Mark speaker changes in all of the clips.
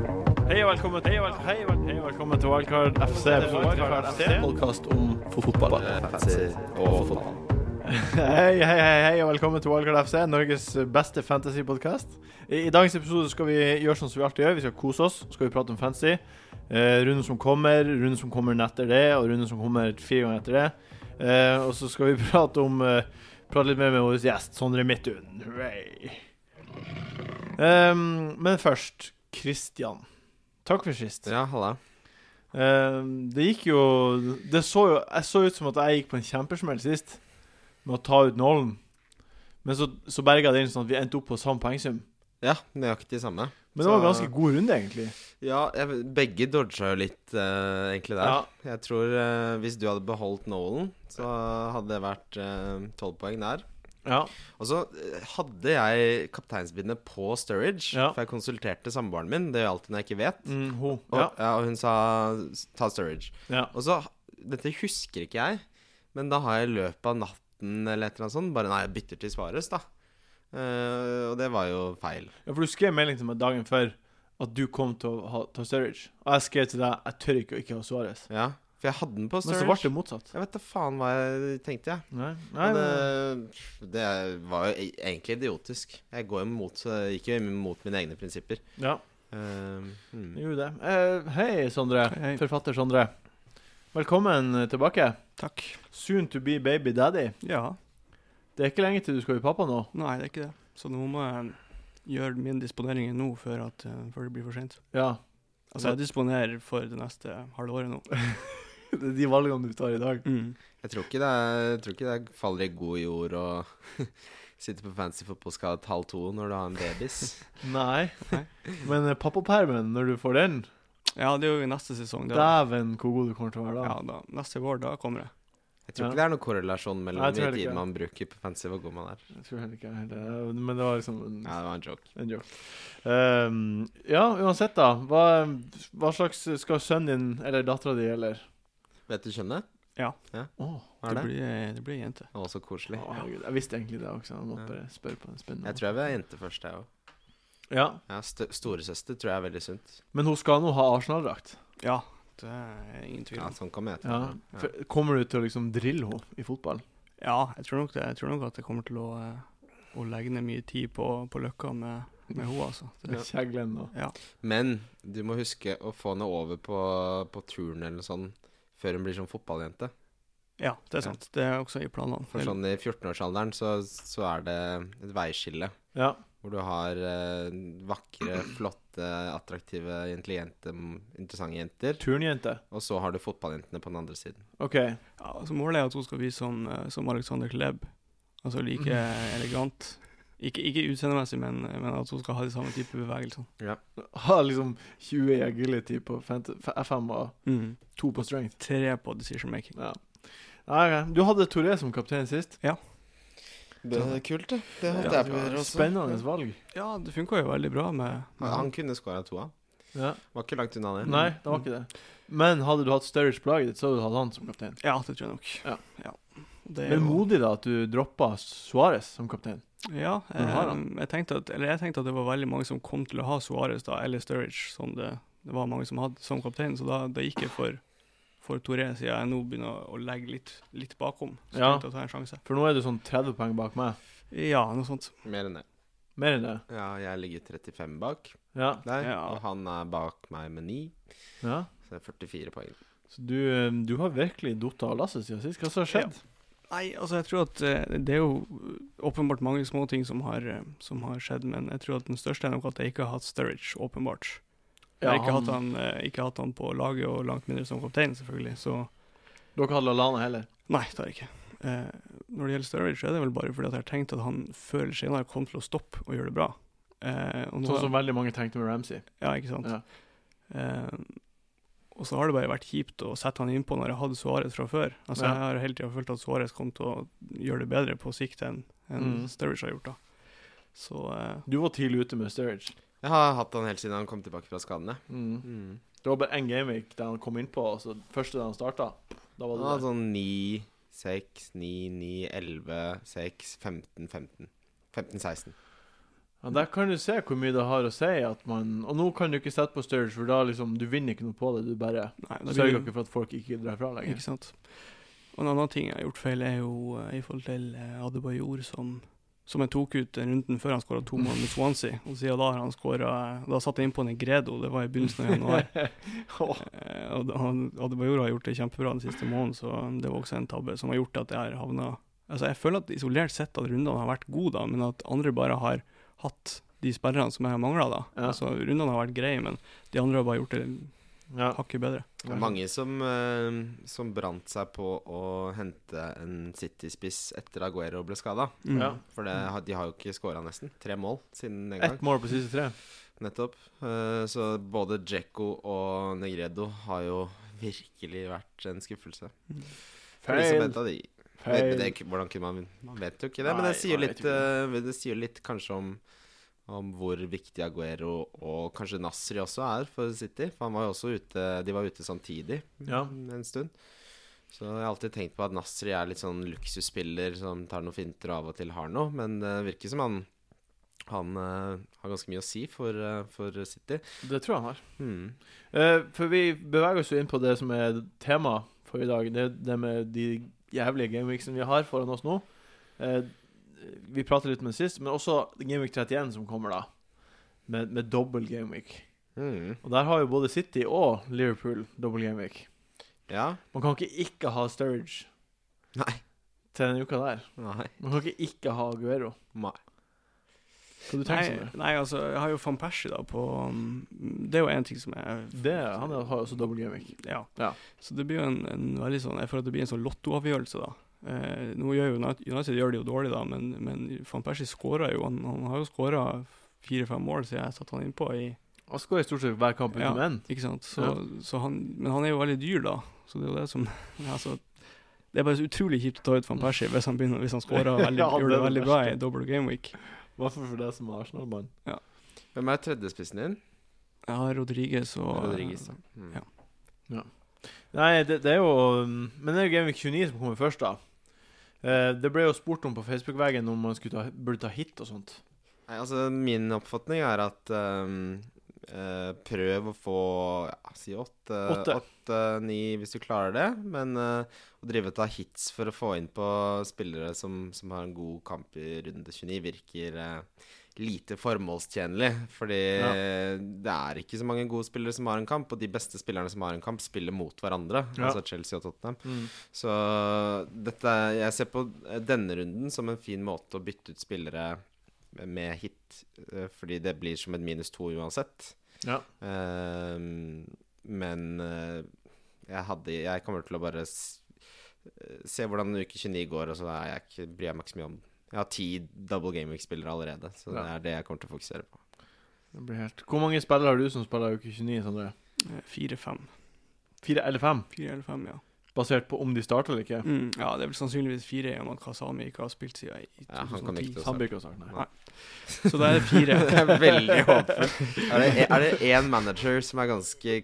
Speaker 1: og velkommen til Wildcard Hei og vel- hei og velkommen til Wildcard FC. Wildcard FC.
Speaker 2: Podkast om fotball.
Speaker 3: Eh,
Speaker 2: og fotball.
Speaker 1: Hei, hei, hei, hei og velkommen til Wildcard FC, Norges beste fantasypodkast. I, I dagens episode skal vi gjøre sånn som vi alltid gjør. Vi skal kose oss, så skal vi prate om fantasy. Eh, runden som kommer, runden som kommer etter det, og runden som kommer fire ganger etter det. Eh, og så skal vi prate om eh, Prate litt mer med vår gjest, Sondre Midthun. Hooray. Ehm, men først, Christian. Takk for sist.
Speaker 3: Ja, halla.
Speaker 1: Eh, det gikk jo Det så jo Jeg så ut som at jeg gikk på en kjempesmell sist med å ta ut nålen. Men så, så berga det inn sånn at vi endte opp på samme poengsum.
Speaker 3: Ja, nøyaktig samme.
Speaker 1: Men det var en
Speaker 3: Så-
Speaker 1: ganske god runde, egentlig.
Speaker 3: Ja, jeg, begge dodga jo litt, eh, egentlig, der. Jeg tror eh, hvis du hadde beholdt Nolan, så hadde det vært eh, tolv poeng der.
Speaker 1: Ja.
Speaker 3: Og så eh, hadde jeg kapteinsbindet på Sturridge,
Speaker 1: Ja.
Speaker 3: for jeg konsulterte samboeren min. Det gjør jeg alltid når jeg ikke vet.
Speaker 1: Mm, ho.
Speaker 3: Og,
Speaker 1: Ja.
Speaker 3: ja. og hun sa "S- ta Sturridge.
Speaker 1: ja.
Speaker 3: Og så Dette husker ikke jeg, men da har jeg i løpet av natten eller et eller annet sånt bare Nei, jeg bytter til Svares, da. Eh, og det var jo feil.
Speaker 1: ja, for du skrev melding til meg dagen før at du kom til å ha, ta Sturridge. Og jeg skrev til deg jeg tør ikke å ikke ha Suárez.
Speaker 3: Ja, for jeg hadde den på
Speaker 1: Men så
Speaker 3: Sturridge.
Speaker 1: ble det motsatt.
Speaker 3: Jeg vet da faen hva jeg tenkte, jeg.
Speaker 1: Nei, nei,
Speaker 3: Men,
Speaker 1: men,
Speaker 3: eh, det var jo e- egentlig idiotisk. Jeg går imot, eh, gikk jo imot mine egne prinsipper.
Speaker 1: ja,
Speaker 3: Eh,
Speaker 1: jeg
Speaker 3: mm.
Speaker 1: gjorde det. Eh, hei, Sondre.
Speaker 2: Hei.
Speaker 1: Forfatter Sondre. Velkommen tilbake.
Speaker 2: Takk.
Speaker 1: Soon to be baby daddy.
Speaker 2: Ja.
Speaker 1: Det er ikke lenge til du skal bli pappa nå.
Speaker 2: Nei, det er ikke det. Så nå må jeg gjøre mine disponeringer nå før, at, eh, før det blir for sent.
Speaker 1: Ja.
Speaker 2: Altså, jeg disponerer for det neste halvåret nå.
Speaker 1: Det er de valgene du tar i dag.
Speaker 3: Jeg tror ikke det, er, jeg tror ikke det faller i god jord å sitte på fancy fotballskade halv to når du har en babys.
Speaker 1: Nei.
Speaker 2: Nei.
Speaker 1: Men eh, pappapermen, når du får den
Speaker 2: Ja, det er jo i neste sesong. Da.
Speaker 1: Dæven, hvor god du kommer til å være da.
Speaker 2: Ja, da. Neste vår, da kommer jeg.
Speaker 3: Jeg tror
Speaker 1: Ja.
Speaker 3: ikke det er noen korrelasjon mellom
Speaker 1: Nei, jeg
Speaker 3: hvor
Speaker 1: tror
Speaker 3: mye
Speaker 1: heller ikke.
Speaker 3: tid man bruker på fancy, hvor god man er.
Speaker 1: Jeg tror heller ikke jeg heller. Eh, Men det var liksom en,
Speaker 3: Ja, det var en joke.
Speaker 1: en joke. Ehm, ja, uansett, da. Hva, hva slags skal sønnen din eller dattera di eller
Speaker 3: Vet du kjønnet?
Speaker 1: Å,
Speaker 3: Hva er
Speaker 2: Det
Speaker 3: det?
Speaker 2: blir, eh, det blir jente.
Speaker 3: Å, så koselig.
Speaker 1: å, herregud. Jeg visste egentlig det også. Jeg måtte
Speaker 3: Ja.
Speaker 1: bare spørre på en spennende
Speaker 3: Jeg tror jeg vil ha jente først, jeg òg.
Speaker 1: måte. Ja.
Speaker 3: Ja, st storesøster tror jeg er veldig sunt.
Speaker 1: Men hun skal nå ha Arsenal-drakt.
Speaker 2: Ja, det er ingen tvil
Speaker 3: Ja,
Speaker 2: om.
Speaker 3: sånn kommer jeg til.
Speaker 1: Ja.
Speaker 3: Ja.
Speaker 1: For- Kommer du til å liksom drille henne i fotball?
Speaker 2: Ja, jeg tror nok det. Jeg tror nok at jeg kommer til å, eh, å legge ned mye tid på, på Løkka med, med henne, altså.
Speaker 1: Med
Speaker 2: Det,
Speaker 1: Kjeglen og
Speaker 2: ja.
Speaker 3: Men du må huske å få henne over på, på turn eller noe sånt før hun blir sånn fotballjente.
Speaker 2: ja, det er sant. Det er også i planene.
Speaker 3: For sånn i 14-årsalderen så, så er det et veiskille
Speaker 1: Ja.
Speaker 3: hvor du har eh, vakre, flotte, attraktive, intelligente, m- interessante jenter.
Speaker 1: Turnjente.
Speaker 3: Og så har du fotballjentene på den andre siden.
Speaker 1: OK.
Speaker 2: Ja, altså Målet er at hun skal bli som, eh, som Alexander Klebb. Altså like
Speaker 1: Mhm.
Speaker 2: elegant. Ikke, ikke utseendemessig, men, men at hun skal ha de samme type bevegelser.
Speaker 1: Har liksom 20 i agility på fant- f- FM og
Speaker 2: Mm.
Speaker 1: 2 på strength.
Speaker 2: Tre på decision making.
Speaker 1: Ja. Nei, ok. Du hadde Toré som kaptein sist.
Speaker 3: Det er kult, det. Det
Speaker 2: holdt
Speaker 1: Ja,
Speaker 3: altså.
Speaker 1: Spennende valg.
Speaker 2: Ja, det funka jo veldig bra med, med
Speaker 3: Han kunne skåra to av.
Speaker 1: Ja.
Speaker 3: Var ikke langt unna det.
Speaker 1: Nei, det var ikke det. Men hadde du hatt Sturridge på laget ditt, så hadde du hatt han som kaptein.
Speaker 2: Ja, det tror jeg nok.
Speaker 1: Ja.
Speaker 2: Det er
Speaker 1: Men
Speaker 2: jo-
Speaker 1: modig, da, at du droppa Suárez som kaptein.
Speaker 2: Ja,
Speaker 1: Men du har
Speaker 2: eh, jeg, tenkte at, eller jeg tenkte at det var veldig mange som kom til å ha Suárez da, eller Sturridge, som det, det var mange som hadde som kaptein, så da, da gikk jeg for, for Toré, siden jeg nå begynner å legge litt, litt bakom. Så
Speaker 1: Ja.
Speaker 2: tenkte jeg å ta en sjanse.
Speaker 1: For nå er du sånn 30 poeng bak meg.
Speaker 2: Ja, noe sånt.
Speaker 3: Mer enn det.
Speaker 1: Mer enn det.
Speaker 3: Ja, jeg ligger 35 bak
Speaker 1: Ja.
Speaker 3: der,
Speaker 2: Ja.
Speaker 3: og han er bak meg med 9,
Speaker 1: ja.
Speaker 3: så det er 44 poeng.
Speaker 1: Så du, eh, du har virkelig datt av lasset siden sist. Hva som har skjedd?
Speaker 2: Nei, altså jeg tror at eh, det er jo eh, åpenbart mange små ting som har, eh, som har skjedd, men jeg tror at den største er nok at jeg ikke har hatt Sturridge, åpenbart. Jeg har
Speaker 1: Ja,
Speaker 2: ikke,
Speaker 1: han-
Speaker 2: hatt han, eh, ikke hatt han på laget, og langt mindre som kaptein, selvfølgelig, så...
Speaker 1: Dere hadde Lallana heller.
Speaker 2: Nei, det har jeg ikke. Eh, når det gjelder Sturridge, så er det vel bare fordi at jeg har tenkt at han før eller senere kommer til å stoppe og gjøre det bra. Eh, og nå,
Speaker 1: Sånn som veldig mange tenkte med Ramsey.
Speaker 2: Ja, ikke sant.
Speaker 1: Ja.
Speaker 2: Eh, og så har det bare vært kjipt å sette han innpå når jeg hadde Suárez fra før. Altså,
Speaker 1: Ja.
Speaker 2: Jeg har hele tida følt at Suárez kom til å gjøre det bedre på sikt enn enn
Speaker 1: Mm.
Speaker 2: Sturridge har gjort, da. Så eh,
Speaker 1: Du var tidlig ute med Sturridge.
Speaker 3: Jeg har hatt han helt siden han kom tilbake fra skadene.
Speaker 1: Mm.
Speaker 3: Mm.
Speaker 1: Det var bare én gameweek der han kom innpå, og så første da han starta, da var
Speaker 3: Han
Speaker 1: det
Speaker 3: hadde
Speaker 1: der.
Speaker 3: sånn 9, 6, 9, 9, 11, 6, 15, 15. 15, 16.
Speaker 1: Ja, der kan du se hvor mye det har å si. At man, og nå kan du ikke sette på Sturridge, for da liksom, du vinner ikke noe på det. Du bare
Speaker 2: Nei, da blir
Speaker 1: sørger
Speaker 2: det,
Speaker 1: ikke for at folk ikke drar fra lenger.
Speaker 2: ikke sant. Og en annen ting jeg har gjort feil, er jo eh, i forhold til eh, Adebayor, som, som jeg tok ut den runden før han skåra to mål mot Swansea. Og siden da har han skåret eh, Da satt jeg innpå Negredo, det var i begynnelsen av januar.
Speaker 1: Åh,
Speaker 2: Eh, og da- han- Adebayor har gjort det kjempebra den siste måneden, så det var også en tabbe som har gjort at jeg har havna Altså, jeg føler at isolert sett at rundene har vært gode, da, men at andre bare har hatt de sperrene som jeg har mangla, da.
Speaker 1: Ja.
Speaker 2: Altså, rundene har vært greie, men de andre har bare gjort det
Speaker 1: ja.
Speaker 2: hakket bedre.
Speaker 3: Det er mange som, eh, som brant seg på å hente en City-spiss etter Aguero ble skada.
Speaker 2: Mm.
Speaker 1: Ja.
Speaker 3: For det, har- de har jo ikke scora nesten. Tre mål siden den gang.
Speaker 1: Ett mål på siste tre.
Speaker 3: Nettopp. Eh, Så både Djeko og Negredo har jo virkelig vært en skuffelse. For de som
Speaker 1: Mm. Feil.
Speaker 3: venta de Men
Speaker 1: Feil.
Speaker 3: det, hvordan kunne man Man vet jo ikke det, men
Speaker 1: Nei,
Speaker 3: det sier, jo
Speaker 1: man
Speaker 3: litt,
Speaker 1: vet jo
Speaker 3: eh, det sier jo litt kanskje om om hvor viktig Aguero og kanskje Nasri også er for City. For han var jo også ute, de var ute samtidig
Speaker 1: Ja.
Speaker 3: mm, en stund. Så jeg har alltid tenkt på at Nasri er litt sånn luksusspiller som tar noen finter og av og til har noe. Men det virker som han, han eh, har ganske mye å si for, eh, for City.
Speaker 1: Det tror jeg han har.
Speaker 3: Mm.
Speaker 1: Eh, for vi beveger oss jo inn på det som er tema for i dag. Det, det med de jævlige gameweeksene vi har foran oss nå. Eh, vi pratet litt om det sist, men også Gameweek 31 som kommer, da. Med, med dobbel gameweek.
Speaker 3: Mm.
Speaker 1: Og der har jo både City og Liverpool dobbel gameweek.
Speaker 3: Ja.
Speaker 1: Man kan ikke ikke ha Sturridge
Speaker 3: Nei.
Speaker 1: til denne uka der.
Speaker 3: Nei.
Speaker 1: Man kan ikke ikke ha Aguero.
Speaker 3: Nei.
Speaker 1: Hva du
Speaker 2: Nei,
Speaker 1: tenker sånn, du?
Speaker 2: nei, altså, jeg har jo van Persie, da, på um, Det er jo én ting som jeg
Speaker 1: Det, han har jo også dobbel gameweek.
Speaker 2: Ja.
Speaker 1: Ja.
Speaker 2: Så det blir jo en, en veldig sånn Jeg føler at det blir en sånn lottoavgjørelse, da. Eh, nå gjør jo United, United gjør det jo dårlig, da, men, men van Persie skåra jo. Han, han har jo skåra fire-fem mål siden jeg satte han innpå i
Speaker 1: Han skårer i stort sett hver kamp
Speaker 2: Ja.
Speaker 1: utenom én.
Speaker 2: Ikke sant? Så,
Speaker 1: Ja.
Speaker 2: så han, men han er jo veldig dyr, da. Så det er jo det som altså, Det er bare så utrolig kjipt å ta ut van Persie hvis han, begynner, hvis han scorer veldig,
Speaker 1: Ja, det
Speaker 2: gjør det
Speaker 1: er det
Speaker 2: veldig bra i
Speaker 1: verste.
Speaker 2: double game week.
Speaker 1: I hvert fall for deg som er Arsenal-mann.
Speaker 3: Hvem er tredjespissen din?
Speaker 2: Jeg har Rodriguez og
Speaker 3: Rodriguez. da. Mm.
Speaker 2: ja.
Speaker 1: Nei, det, det er jo um, Men det er jo Gameweek 29 som kommer først, da. Eh, det ble jo spurt om på Facebook-veggen om man skulle ta, burde ta hit og sånt.
Speaker 3: Nei, altså Min oppfatning er at ehm, eh, prøv å få ja, si åtte,
Speaker 1: Åtte.
Speaker 3: åtte, ni hvis du klarer det. Men eh, å drive og ta hits for å få inn på spillere som, som har en god kamp i runde 29, virker eh, lite formålstjenlig. Fordi
Speaker 1: Ja.
Speaker 3: det er ikke så mange gode spillere som har en kamp, og de beste spillerne som har en kamp, spiller mot hverandre.
Speaker 1: Ja.
Speaker 3: Altså Chelsea og Tottenham. Så dette, jeg ser på denne runden som en fin måte å bytte ut spillere med hit, eh, fordi det blir som et minus to uansett.
Speaker 1: Ja.
Speaker 3: Eh, men eh, jeg, hadde, jeg kommer til å bare s eh, se hvordan uke 29 går, og så er jeg ikke, bryr jeg meg ikke så mye om det. Jeg har ti double gameweek-spillere allerede, så det
Speaker 1: Ja.
Speaker 3: er det jeg kommer til å fokusere på.
Speaker 1: Det blir helt Hvor mange spillere har du som spiller uke 29, Sondre?
Speaker 2: eh, fire-fem.
Speaker 1: Fire eller fem?
Speaker 2: Fire eller fem, ja.
Speaker 1: Basert på om de starter eller ikke?
Speaker 2: Mm, ja, det er vel sannsynligvis fire i og med at Kasami ikke har spilt siden i
Speaker 3: Ja, han kommer ikke til
Speaker 2: 2010.
Speaker 3: å
Speaker 1: Han blir ikke å starte, nei.
Speaker 2: Nei. Så da er det fire.
Speaker 3: Det er veldig håpefullt. Er det- e, er det én manager som er ganske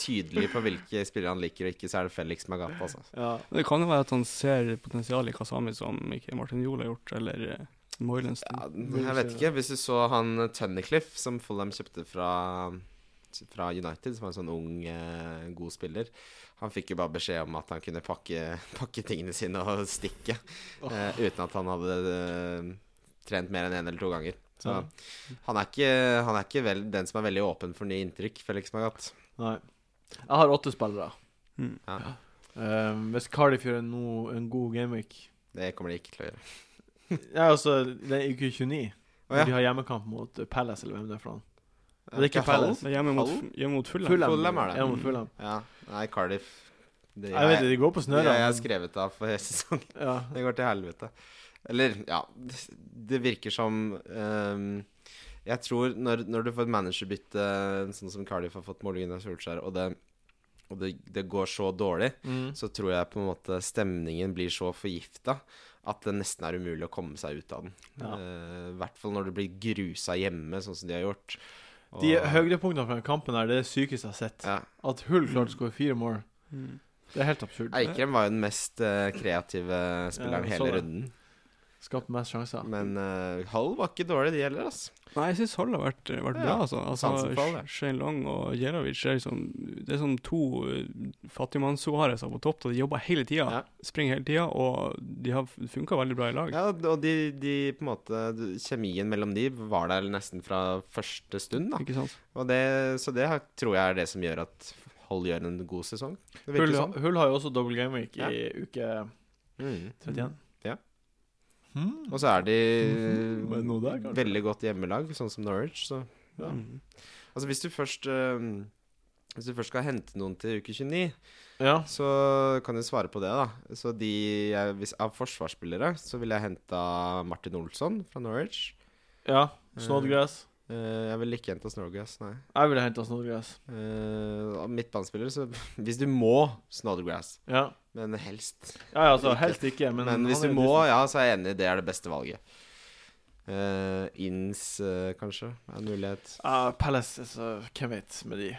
Speaker 3: tydelig på hvilke spillere han liker og ikke, så er det Felix Magat, altså.
Speaker 1: Ja.
Speaker 2: Men Det kan jo være at han ser potensialet i Kasami som ikke Martin Johl har gjort, eller eh, Moylands.
Speaker 3: Ja,
Speaker 1: vil
Speaker 3: jeg vet
Speaker 1: se.
Speaker 3: ikke. Hvis du så han eh, Tunnicliffe som Fulham kjøpte fra, fra United, som var en sånn ung, eh, god spiller Han fikk jo bare beskjed om at han kunne pakke, pakke tingene sine og stikke. eh, uten at han hadde eh, trent mer enn én eller to ganger. Så
Speaker 1: Ja.
Speaker 3: han er ikke, han er ikke vel, den som er veldig åpen for nye inntrykk, Felix Magat.
Speaker 1: Nei. Jeg har åtte spillere.
Speaker 2: Mm.
Speaker 3: Ja.
Speaker 1: Um, hvis Cardiff gjør en, no, en god gameweek
Speaker 3: Det kommer de ikke til å gjøre.
Speaker 1: Ja, altså, det er uke 29.
Speaker 3: Å, ja.
Speaker 1: De har hjemmekamp mot eh, Palace, eller hvem det er for noen. Men det er ikke
Speaker 3: Hull?
Speaker 1: Palace.
Speaker 2: Det er hjemme mot,
Speaker 3: Hallo?
Speaker 2: hjemme mot Fulham.
Speaker 1: Fulham.
Speaker 3: Fulham er det.
Speaker 1: Ja, mot Fulham.
Speaker 3: Ja. Nei, Cardiff det
Speaker 1: Jeg vet det, de går på
Speaker 3: det
Speaker 1: snøra.
Speaker 3: har jeg
Speaker 1: men-
Speaker 3: skrevet av for hele sesongen.
Speaker 1: ja.
Speaker 3: Det går til helvete. Eller, ja Det virker som ehm, Jeg tror når, når du får et managerbytte, sånn som Cardiff har fått med Ole Gunnar Solskjær, og, det, og det, det går så dårlig,
Speaker 1: Mm.
Speaker 3: så tror jeg på en måte stemningen blir så forgifta at det nesten er umulig å komme seg ut av den.
Speaker 1: Ja.
Speaker 3: Eh, I hvert fall når du blir grusa hjemme, sånn som de har gjort. Og-
Speaker 1: De høydepunktene fra den kampen her, det er det sykeste jeg har sett.
Speaker 3: ja.
Speaker 1: At Hull klarte å skåre fire mål,
Speaker 2: Mm.
Speaker 1: det er helt absurd.
Speaker 3: Eikrem var jo den mest eh, kreative spilleren
Speaker 1: Ja, så
Speaker 3: hele
Speaker 1: det.
Speaker 3: runden.
Speaker 1: Skapt mest sjanser.
Speaker 3: Men eh, Hull var ikke dårlig, de heller, altså. ass.
Speaker 2: Nei, jeg syns Hall har vært, vært bra,
Speaker 3: Ja,
Speaker 2: altså. altså
Speaker 3: sansen for Hall, ja.
Speaker 2: Sh- Shane Long og Jelovic er liksom Det er som to eh, fattigmanns-Suárez på topp. og De jobber hele tida,
Speaker 3: Ja.
Speaker 2: springer hele tida, og de har funka veldig bra i lag.
Speaker 3: Ja, og de, de på en måte Kjemien mellom de var der nesten fra første stund, da.
Speaker 2: Ikke sant?
Speaker 3: Og det, så det har- tror jeg er det som gjør at Hull gjør en god sesong. Det
Speaker 1: Hull,
Speaker 3: virker sånn.
Speaker 1: Hull har jo også double game week
Speaker 3: Ja.
Speaker 1: i uke
Speaker 3: Mm.
Speaker 1: 31.
Speaker 3: Ja.
Speaker 1: Hmm.
Speaker 3: Og så er de
Speaker 1: Var det noe der, kanskje?
Speaker 3: veldig godt hjemmelag, sånn som Norwich. Så.
Speaker 1: Ja.
Speaker 2: Mm.
Speaker 3: Altså, hvis du først eh, Hvis du først skal hente noen til uke 29,
Speaker 1: Ja.
Speaker 3: så kan du svare på det, da. Så de jeg, hvis, Av forsvarsspillere så ville jeg henta Martin Olsson fra Norwich.
Speaker 1: ja. Snodgrass.
Speaker 3: Eh, jeg ville ikke henta Snowgrass, nei.
Speaker 1: Jeg ville henta Snodgrass.
Speaker 3: Eh, av midtbanespillere, så Hvis du må, Snodgrass.
Speaker 1: Ja.
Speaker 3: Men helst.
Speaker 1: ja, ja, altså helst ikke, men,
Speaker 3: Men, hvis
Speaker 1: han er liksom-
Speaker 3: du må,
Speaker 1: litt-
Speaker 3: ja, så er jeg enig. Det er det beste valget. Eh, Inns, eh, kanskje, er en mulighet.
Speaker 1: Ja, Palace, altså, hvem vet med de?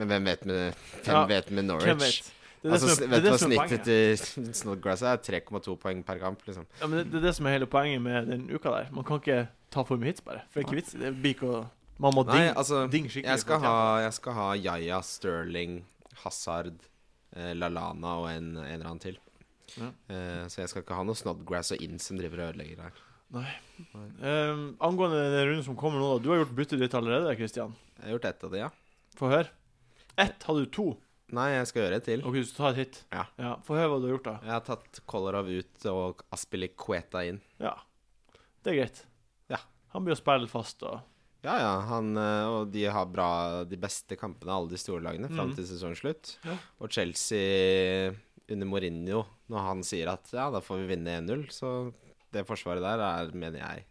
Speaker 3: Men hvem vet med, hvem
Speaker 1: Ja,
Speaker 3: vet med
Speaker 1: Hvem
Speaker 3: Norwich?
Speaker 1: vet? Det er det,
Speaker 3: Altså,
Speaker 1: som, er, det,
Speaker 3: vet
Speaker 1: er
Speaker 3: du
Speaker 1: det,
Speaker 3: hva
Speaker 1: som er
Speaker 3: snittet
Speaker 1: poenget.
Speaker 3: til Snodgrass er? 3,2 poeng per kamp, liksom.
Speaker 1: ja, men det, det er det som er hele poenget med den uka der. Man kan ikke ta for mye hits, bare. For det er ikke vits. i Det blir ikke å Man må
Speaker 3: Nei,
Speaker 1: ding,
Speaker 3: altså
Speaker 1: ding skikkelig.
Speaker 3: Jeg skal
Speaker 1: for å
Speaker 3: ha,
Speaker 1: tjene.
Speaker 3: jeg skal ha Yaya, Sterling, Hazard, eh, Lalana og en, en eller annen til.
Speaker 1: Ja.
Speaker 3: Eh, så jeg skal ikke ha noe Snodgrass og Inns som driver og ødelegger her.
Speaker 1: Ehm, angående den runden som kommer nå, da. Du har gjort byttet ditt allerede, Christian.
Speaker 3: Jeg har gjort ett av de, ja.
Speaker 1: Få høre. Ett hadde du to.
Speaker 3: Nei, jeg skal gjøre et til.
Speaker 1: Ok, så ta et hit.
Speaker 3: Ja.
Speaker 1: Få høre hva du har gjort, da.
Speaker 3: Jeg har tatt Kolarov ut og Aspilicueta inn.
Speaker 1: Ja. Det er greit.
Speaker 3: Ja.
Speaker 1: Han blir å spille fast, og
Speaker 3: Ja, ja, han eh, og de har bra de beste kampene av alle de store lagene fram
Speaker 1: Mhm.
Speaker 3: til sesongslutt.
Speaker 1: Ja.
Speaker 3: Og Chelsea under Mourinho, når han sier at ja, da får vi vinne 1-0, så det forsvaret der er, mener jeg,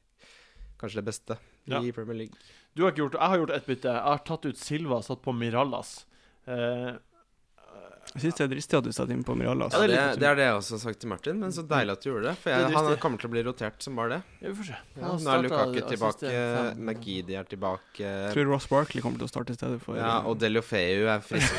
Speaker 3: kanskje det beste
Speaker 1: Ja.
Speaker 3: i Premier League.
Speaker 1: Du har ikke gjort Jeg har gjort ett bytte. Jeg har tatt ut Silva, satt på Mirallas. Eh,
Speaker 2: Jeg syns det er dristig at du setter inn på Miralla.
Speaker 3: Ja,
Speaker 2: Altså.
Speaker 1: det
Speaker 3: det,
Speaker 1: er litt
Speaker 3: det er det jeg også har sagt til Martin, men så deilig at du gjorde det. For
Speaker 1: Det er
Speaker 3: jeg, han
Speaker 1: riktig.
Speaker 3: kommer til å bli rotert som bare det.
Speaker 1: ja, vi får se. Han
Speaker 3: Ja,
Speaker 1: har
Speaker 3: nå er
Speaker 1: startet
Speaker 3: Lukaku
Speaker 1: de siste
Speaker 3: tilbake,
Speaker 1: fem-
Speaker 3: Magidi er tilbake,
Speaker 2: Jeg tror Ross Barkley kommer til å starte i stedet for
Speaker 3: ja, og Deliofeu er frisk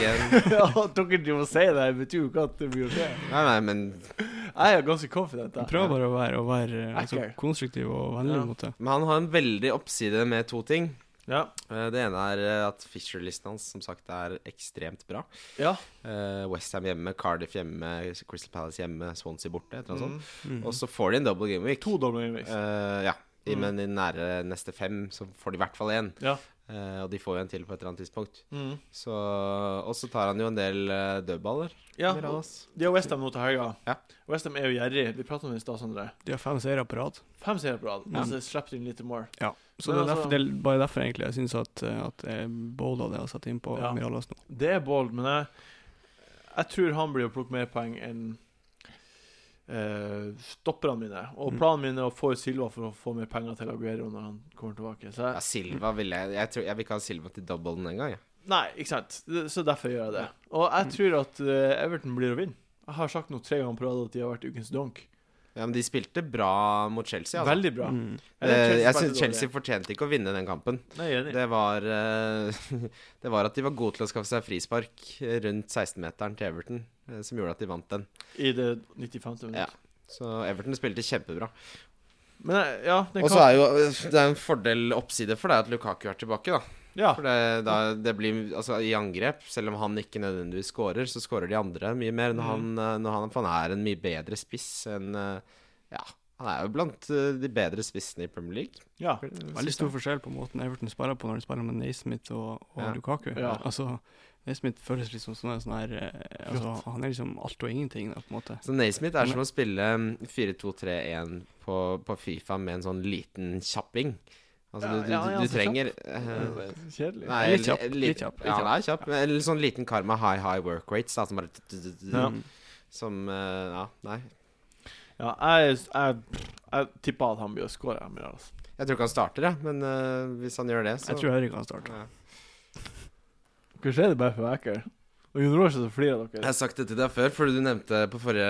Speaker 3: igjen.
Speaker 1: ja, at dere driver og sier det, betyr jo ikke at det blir å skje.
Speaker 3: Nei, nei, men
Speaker 1: Jeg er ganske confident. da.
Speaker 2: Prøv bare å være, å være eh, altså,
Speaker 1: Acker.
Speaker 2: konstruktiv og vennlig
Speaker 1: Ja.
Speaker 2: mot det.
Speaker 3: Men han har en veldig oppside med to ting.
Speaker 1: Ja.
Speaker 3: Eh, Det ene er eh, at Fisher-listen hans som sagt er ekstremt bra.
Speaker 1: ja.
Speaker 3: Eh, West Ham hjemme, Cardiff hjemme, Crystal Palace hjemme, Swansea borte. Et eller annet sånt.
Speaker 1: Mm.
Speaker 2: Mm.
Speaker 3: Og så får de en double game week.
Speaker 1: To doble remix.
Speaker 3: Eh, sånn. ja. I,
Speaker 1: Mm.
Speaker 3: Men i nære neste fem så får de i hvert fall én.
Speaker 1: Ja.
Speaker 3: Eh, og de får jo en til på et eller annet tidspunkt.
Speaker 1: Mm.
Speaker 3: Så, og så tar han jo en del eh, dødballer.
Speaker 1: ja.
Speaker 3: Miralas.
Speaker 1: De har Westham nå til helga.
Speaker 3: Ja.
Speaker 1: Westham er jo gjerrig. Vi pratet om det i stad, Sondre.
Speaker 2: De har fem seire på rad.
Speaker 1: Fem seere på rad.
Speaker 2: Ja.
Speaker 1: Altså, slipper inn litt more.
Speaker 2: Så det
Speaker 1: Men
Speaker 2: er,
Speaker 1: altså-
Speaker 2: derfor, det er bare derfor egentlig jeg syns at, eh, at jeg bolda det og satte inn på
Speaker 1: Ja.
Speaker 2: Mirallas nå.
Speaker 1: Det er bold, men jeg, jeg tror han blir å plukke mer poeng enn eh, stopperne mine. Og
Speaker 2: Mm.
Speaker 1: planen min er å få ut Silva for å få mer penger til Aguero når han kommer tilbake. Så
Speaker 3: Ja,
Speaker 1: jeg,
Speaker 3: Silva vil jeg Jeg, tror, jeg vil ikke ha Silva til doublen engang. jeg.
Speaker 1: nei, ikke sant. Det- Så derfor gjør jeg det. Og
Speaker 3: Mm.
Speaker 1: jeg tror at eh, Everton blir å vinne. Jeg har sagt nå tre ganger på rad at de har vært ukens donk.
Speaker 3: Ja, men de spilte bra mot Chelsea. Altså.
Speaker 1: Veldig bra.
Speaker 2: Mm.
Speaker 1: Eller
Speaker 3: Eh, jeg
Speaker 1: spilte
Speaker 3: synes
Speaker 1: dårlig.
Speaker 3: Chelsea fortjente ikke å vinne den kampen.
Speaker 1: Nei, jeg er enig.
Speaker 3: Det var, eh, det var at de var gode til å skaffe seg frispark rundt 16-meteren til Everton, eh, som gjorde at de vant den.
Speaker 1: I det 95. minutt.
Speaker 3: Ja. Så Everton spilte kjempebra.
Speaker 1: Men jeg- ja, det
Speaker 3: Og så er jo eh, det er en fordel oppside for deg at Lukaku er tilbake, da.
Speaker 1: ja.
Speaker 3: For det, da, det blir Altså, i angrep, selv om han ikke nødvendigvis scorer, så scorer de andre mye mer
Speaker 1: Mm.
Speaker 3: når han, eh, når han For han er en mye bedre spiss enn eh, Ja, han er jo blant eh, de bedre spissene i Premier League.
Speaker 1: ja.
Speaker 2: Veldig stor forskjell på måten Everton spiller på når de spiller med Naismith og, og
Speaker 3: Ja.
Speaker 2: Lukaku.
Speaker 1: Ja.
Speaker 2: Altså, Naismith føles litt som sånn her- sånn her eh, altså, Han er liksom alt og ingenting, da, på en måte.
Speaker 3: Så Altså, Naismith er som å spille mm, 4-2-3-1 på, på Fifa med en sånn liten kjapping. Altså, du, du,
Speaker 1: Ja, ja,
Speaker 3: du
Speaker 1: altså,
Speaker 3: trenger eh,
Speaker 1: Kjedelig.
Speaker 3: Nei,
Speaker 2: Litt kjapp,
Speaker 3: li-
Speaker 2: litt kjapp, litt
Speaker 3: Ja, han er kjapp. men En sånn liten kar med high high work rates, da, som bare t- t- t- t-
Speaker 1: Ja.
Speaker 2: Mm.
Speaker 3: Som eh, Ja, nei.
Speaker 1: Ja, jeg, jeg, jeg tipper at han blir å score. jeg, Mirallas.
Speaker 3: Jeg tror ikke han starter, jeg, men eh, hvis han gjør det, så
Speaker 2: Jeg tror Erik kan starte.
Speaker 3: Ja.
Speaker 1: Hva skjer det bare for vekker? Og Jon Roar sitter og flirer av
Speaker 3: Jeg
Speaker 1: dere.
Speaker 3: har sagt det til deg før, fordi du nevnte på forrige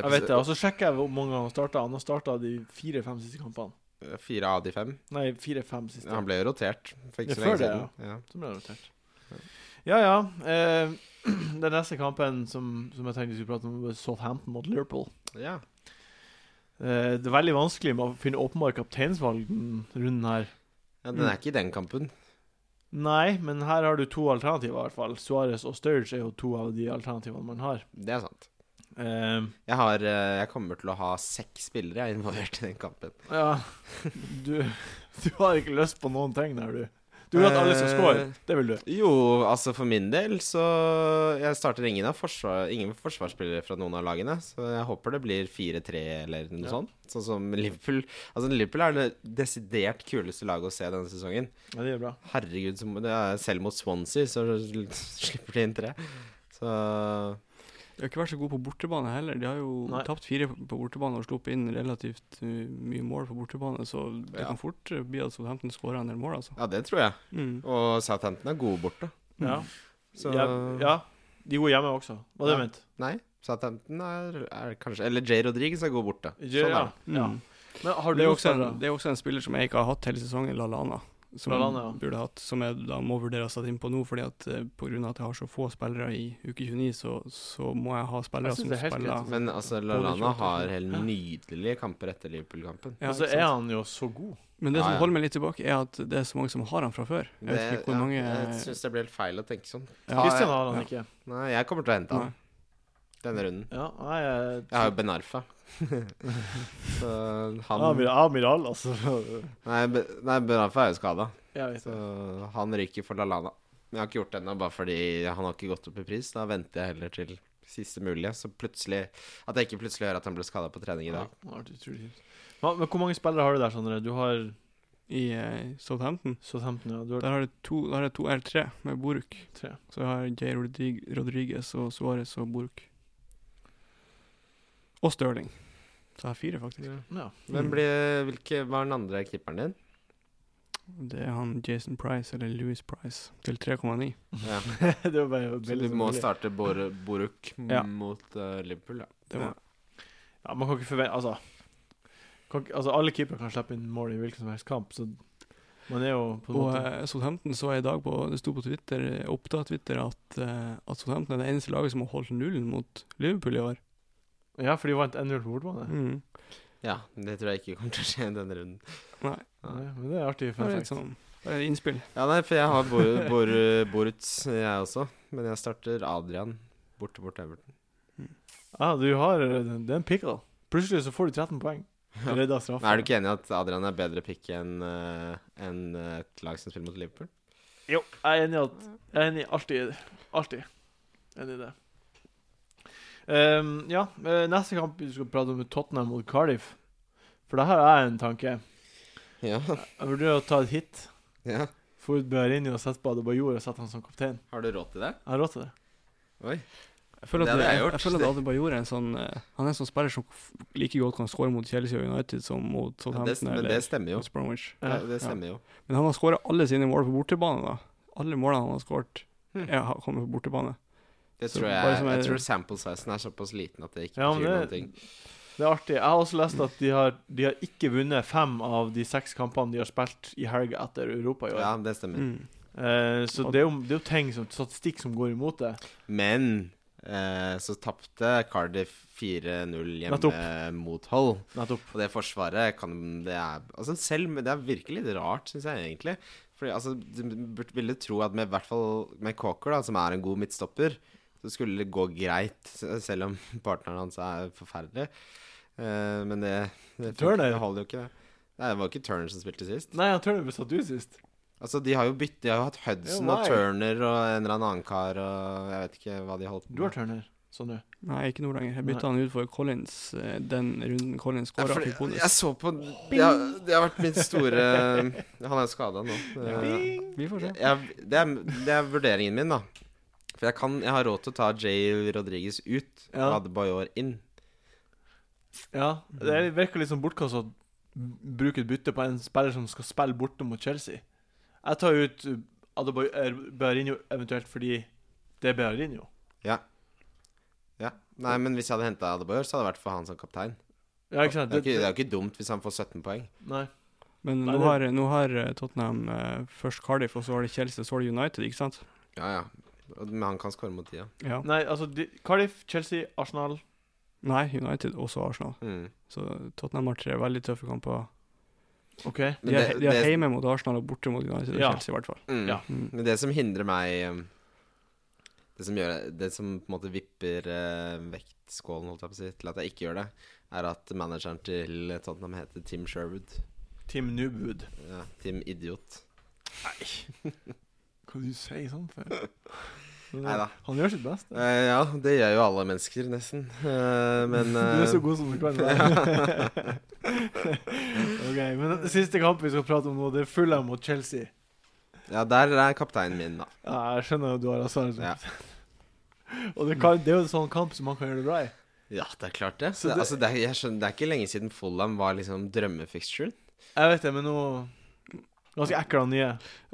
Speaker 1: Jeg vet det, Og så sjekker jeg hvor mange ganger han starta. Han har starta de fire-fem siste kampene.
Speaker 3: episode- Fire av de fem.
Speaker 1: Nei, fire-fem siste.
Speaker 3: Han ble jo rotert for
Speaker 1: Ja,
Speaker 3: ikke så
Speaker 1: før
Speaker 3: lenge
Speaker 1: det,
Speaker 3: siden. Ja.
Speaker 1: Så ble han rotert. Ja ja. Eh, den neste kampen som, som jeg tenkte vi skulle prate om, var Southampton mot Liverpool.
Speaker 3: Ja.
Speaker 1: Eh, det er veldig vanskelig med å finne åpenbare kapteinsvalg den runden her.
Speaker 3: Ja,
Speaker 2: Mm.
Speaker 3: den er ikke i den kampen.
Speaker 1: Nei, men her har du to alternativer, i hvert fall. Suárez og Sturge er jo to av de alternativene man har.
Speaker 3: Det er sant.
Speaker 1: Eh,
Speaker 3: Jeg, har, eh, jeg kommer til å ha seks spillere jeg er involvert i den kampen.
Speaker 1: ja du, du har ikke lyst på noen ting der, du. Du vil at alle skal score.
Speaker 3: Eh.
Speaker 1: Det vil du.
Speaker 3: Jo, altså for min del så Jeg starter ingen, av forsvar, ingen forsvarsspillere fra noen av lagene, så jeg håper det blir 4-3 eller noe
Speaker 1: Ja.
Speaker 3: sånt. Sånn som Liverpool. Altså Liverpool er det desidert kuleste laget å se denne sesongen.
Speaker 1: Ja, det er bra.
Speaker 3: Herregud, så må- det er, selv mot Swansea så slipper de inn tre. Så
Speaker 2: De har ikke vært så gode på bortebane heller. De har jo
Speaker 1: Nei.
Speaker 2: tapt fire på bortebane og sluppet inn relativt uh, mye mål på bortebane, så det
Speaker 3: Ja.
Speaker 2: kan fort uh, bli at Southampton skårer en del mål, altså.
Speaker 3: Ja, det tror jeg.
Speaker 2: Mm.
Speaker 3: Og Southampton er gode borte.
Speaker 1: Ja.
Speaker 3: Så
Speaker 1: ja, ja. De gode hjemme også. Hva det
Speaker 3: Ja.
Speaker 1: ment?
Speaker 3: Nei, Southampton er, er kanskje Eller Jay Rodriguez er god borte.
Speaker 1: Ja,
Speaker 3: sånn er
Speaker 1: ja.
Speaker 3: det.
Speaker 1: ja.
Speaker 2: Mm.
Speaker 1: Men har du
Speaker 2: Det er, også en,
Speaker 1: motstandere?
Speaker 2: sånn- det er også en spiller som jeg ikke har hatt hele sesongen, Lalana. Som
Speaker 1: Lallana, ja.
Speaker 2: jeg burde hatt, som jeg da må vurdere å sette inn på nå, fordi at eh, på grunn av at jeg har så få spillere i uke 29, så, så må jeg ha spillere
Speaker 1: Jeg synes
Speaker 2: som
Speaker 1: det er helt greit å
Speaker 2: spiller
Speaker 3: Men altså, Lallana har helt nydelige kamper etter Liverpool-kampen.
Speaker 2: Ja,
Speaker 1: og så
Speaker 2: ikke
Speaker 1: er
Speaker 2: sant?
Speaker 1: han jo så god.
Speaker 2: Men det
Speaker 3: Ja,
Speaker 2: som
Speaker 3: ja.
Speaker 2: holder meg litt tilbake, er at det er så mange som har han fra før. Jeg vet
Speaker 3: Det-
Speaker 2: ikke hvor
Speaker 3: ja,
Speaker 2: mange
Speaker 3: Jeg syns det blir helt feil å tenke sånn.
Speaker 2: Ja.
Speaker 1: Kristian
Speaker 3: jeg,
Speaker 1: har han
Speaker 2: ja.
Speaker 1: ikke.
Speaker 3: nei, jeg kommer til å hente
Speaker 2: Nei.
Speaker 3: han denne runden.
Speaker 1: Ja, nei, jeg,
Speaker 3: Jeg har jo Benarfa. så han
Speaker 1: Amir, Amiral, altså.
Speaker 3: Nei, Be- nei Benarfa er jo skada,
Speaker 1: Jeg vet
Speaker 3: så
Speaker 1: det.
Speaker 3: han ryker for Lallana. Men jeg har ikke gjort det ennå, bare fordi han har ikke gått opp i pris. Da venter jeg heller til siste mulige, så plutselig At jeg ikke plutselig hører at han ble skada på trening i
Speaker 1: Ja,
Speaker 3: dag.
Speaker 1: det har vært utrolig kjipt. Hva- Men hvor mange spillere har du der, Sondre? Du har
Speaker 2: i eh, Southampton.
Speaker 1: Southampton, ja. Du har
Speaker 2: Der har jeg to, der har jeg to R3 med Boruk.
Speaker 1: tre.
Speaker 2: Så jeg har Jay Rodrig- Rodriguez og Suárez og Boruk. Og Stirling. Så jeg har fire, faktisk.
Speaker 1: Ja.
Speaker 3: Hvem
Speaker 2: Mm.
Speaker 3: blir hvilke, Hva er den andre keeperen din?
Speaker 2: Mm. Det er han Jason Price, eller Louis Price, til 3,9.
Speaker 3: Ja.
Speaker 1: det var bare
Speaker 3: Så
Speaker 1: veldig
Speaker 3: du må
Speaker 1: billig.
Speaker 3: starte Bor Boruk m-
Speaker 2: Ja.
Speaker 3: mot eh, Liverpool, ja.
Speaker 2: Det var
Speaker 3: Ja.
Speaker 1: Ja, man kan ikke forvente Altså, kan, ikke- altså alle keepere kan slippe inn mål i hvilken som helst kamp, så man er jo på en
Speaker 2: Og
Speaker 1: måte
Speaker 2: eh, Southampton så jeg i dag på Det sto på Twitter, eh, opptatt Twitter at, eh, at Southampton er det eneste laget som har holdt nullen mot Liverpool i år.
Speaker 3: eh,
Speaker 1: Ja, for de vant 1-0 på bortebane.
Speaker 2: Mm.
Speaker 3: Ja, det tror jeg ikke kommer til å skje i denne runden.
Speaker 2: Nei,
Speaker 1: Nei, Men det er artig.
Speaker 2: det
Speaker 1: Fun
Speaker 2: er
Speaker 1: fact.
Speaker 2: litt sånn det er innspill.
Speaker 3: Ja, nei, for jeg har Bor Bor Boruts, jeg også. Men jeg starter Adrian borte mot Everton.
Speaker 1: Ja,
Speaker 3: sånn.
Speaker 1: Ah, du har eh, Det er en pickle. Plutselig så får du 13 poeng. Redda straffe.
Speaker 3: Men er du ikke enig i at Adrian er bedre pick enn eh, enn, eh, et lag som spiller mot Liverpool?
Speaker 1: Jo, jeg er enig i at Jeg er enig i alltid. Alltid. Enig i det. Ehm, ja, eh, neste kamp vi skal prate om er Tottenham mot Cardiff. For det her er en tanke.
Speaker 3: Ja.
Speaker 1: Jeg vurderer å ta et hit. Få ut Bearinho og sette på Adebayor og sette han som kaptein.
Speaker 3: Har du råd til det?
Speaker 1: Jeg har råd til det.
Speaker 3: Oi.
Speaker 2: Jeg føler
Speaker 3: Det
Speaker 2: at,
Speaker 3: hadde jeg
Speaker 2: jeg,
Speaker 3: gjort.
Speaker 2: jeg føler at Adebayor er en sånn eh, Han er en sånn spiller som f- like godt kan skåre mot Chelsea og United som
Speaker 3: Ja,
Speaker 2: mot
Speaker 3: det,
Speaker 2: Southampton
Speaker 3: men det
Speaker 2: eller
Speaker 3: stemmer jo.
Speaker 2: West Bromwich.
Speaker 3: Ja,
Speaker 1: Ja,
Speaker 3: det stemmer jo.
Speaker 2: Men han har skåra alle sine mål på bortebane, da. Alle målene han har skåret,
Speaker 3: Hmm.
Speaker 2: har kommet på bortebane.
Speaker 3: Det
Speaker 2: Så
Speaker 3: tror
Speaker 2: bare
Speaker 3: jeg,
Speaker 2: som
Speaker 3: jeg
Speaker 2: er-
Speaker 3: tror sample-sizen er såpass liten at det ikke
Speaker 1: Ja, men
Speaker 3: betyr noen
Speaker 1: det-
Speaker 3: ting.
Speaker 1: Det er artig. Jeg har også lest at de har, de har ikke vunnet fem av de seks kampene de har spilt i helga etter Europa i år.
Speaker 3: Ja, det stemmer.
Speaker 2: Mm.
Speaker 1: Eh, så det er, jo, det er jo ting som statistikk som går imot det.
Speaker 3: Men eh, så tapte Cardiff 4-0 hjemme mot Hull.
Speaker 1: Nettopp.
Speaker 3: Og det forsvaret kan Det er, altså selv, med- det er virkelig litt rart, syns jeg egentlig. Fordi altså, Du burde- ville tro at med, i hvert fall med Cocker, da, som er en god midtstopper, så skulle det gå greit, se- selv om partneren hans er forferdelig. Eh, men det, det,
Speaker 1: Turner.
Speaker 3: det holder jo ikke, det. Nei, det var ikke Turner som spilte sist.
Speaker 1: Nei, jeg tror det ble satt ut sist.
Speaker 3: Altså, De har jo bytt, de har jo hatt Hudson
Speaker 1: Jo,
Speaker 3: og
Speaker 1: nei.
Speaker 3: Turner og en eller annen kar og Jeg vet ikke hva de holdt på
Speaker 1: Du har Turner, Sondre.
Speaker 2: Nei, ikke nå lenger. Jeg bytta han ut for Collins eh, den runden Collins
Speaker 3: Ja,
Speaker 2: skåra.
Speaker 3: fordi jeg så på det har, det har vært min store Han er skada nå. Eh,
Speaker 2: Vi får se.
Speaker 3: Jeg, det, er, det er vurderingen min, da. For jeg, kan, jeg har råd til å ta Jay Rodriguez ut og
Speaker 1: Ja.
Speaker 3: Hadde Bayor inn.
Speaker 1: Ja, det virker litt som bortkasta å bruke et bytte på en spiller som skal spille borte mot Chelsea. Jeg tar ut uh, Adebayo er- Bearinho eventuelt fordi det er Bearinho.
Speaker 3: Ja. Nei, men hvis jeg hadde henta Adebayor, så hadde det vært for han som kaptein.
Speaker 1: Ja, ikke sant?
Speaker 3: Det er jo ikke, det
Speaker 1: det,
Speaker 3: er jo ikke dumt hvis han får 17 poeng.
Speaker 1: nei.
Speaker 2: Men
Speaker 1: Nei,
Speaker 2: nå
Speaker 1: det-
Speaker 2: har, nå har eh, Tottenham eh, først Cardiff, og så har de Chelsea, og så har de United, ikke sant?
Speaker 3: Ja, ja. Og- Men han kan score mot tida.
Speaker 2: Ja.
Speaker 1: nei, altså de, Cardiff, Chelsea, Arsenal,
Speaker 2: Nei, United, også Arsenal.
Speaker 3: Mm.
Speaker 2: Så Tottenham har tre veldig tøffe kamper.
Speaker 1: OK.
Speaker 2: De
Speaker 3: Men
Speaker 2: er,
Speaker 3: det-
Speaker 2: de er
Speaker 3: det-
Speaker 2: hjemme mot Arsenal og borte mot United og
Speaker 1: Ja.
Speaker 2: Chelsea, i hvert fall.
Speaker 3: Mm.
Speaker 1: Ja.
Speaker 2: Mm.
Speaker 3: Men det som hindrer meg um, Det som, gjør, det som på en måte vipper eh, vektskålen holdt jeg på å si, til at jeg ikke gjør det, er at manageren til Tottenham heter Tim Sherwood.
Speaker 1: Team Newwood.
Speaker 3: Ja, Tim Idiot.
Speaker 1: Hva er det du sier sånn for?
Speaker 3: Neida.
Speaker 1: Han gjør sitt beste.
Speaker 3: Eh, ja, det gjør jo alle mennesker, nesten. Eh, men
Speaker 1: Du er så
Speaker 3: eh,
Speaker 1: god som du kan være. ok, men den siste kampen vi skal prate om nå, det er Fulham mot Chelsea.
Speaker 3: Ja, der er kapteinen min, da.
Speaker 1: Ja, jeg skjønner jo du har hasard.
Speaker 3: Ja.
Speaker 1: Og det, kan, det er jo en sånn kamp som man kan gjøre det bra i.
Speaker 3: Ja, det er klart det.
Speaker 1: Så
Speaker 3: det,
Speaker 1: det-
Speaker 3: altså, det, er, jeg skjønner, det er ikke lenge siden Fulham var liksom drømmefixturen.
Speaker 1: Jeg vet det, men nå Ganske ekkel han nye.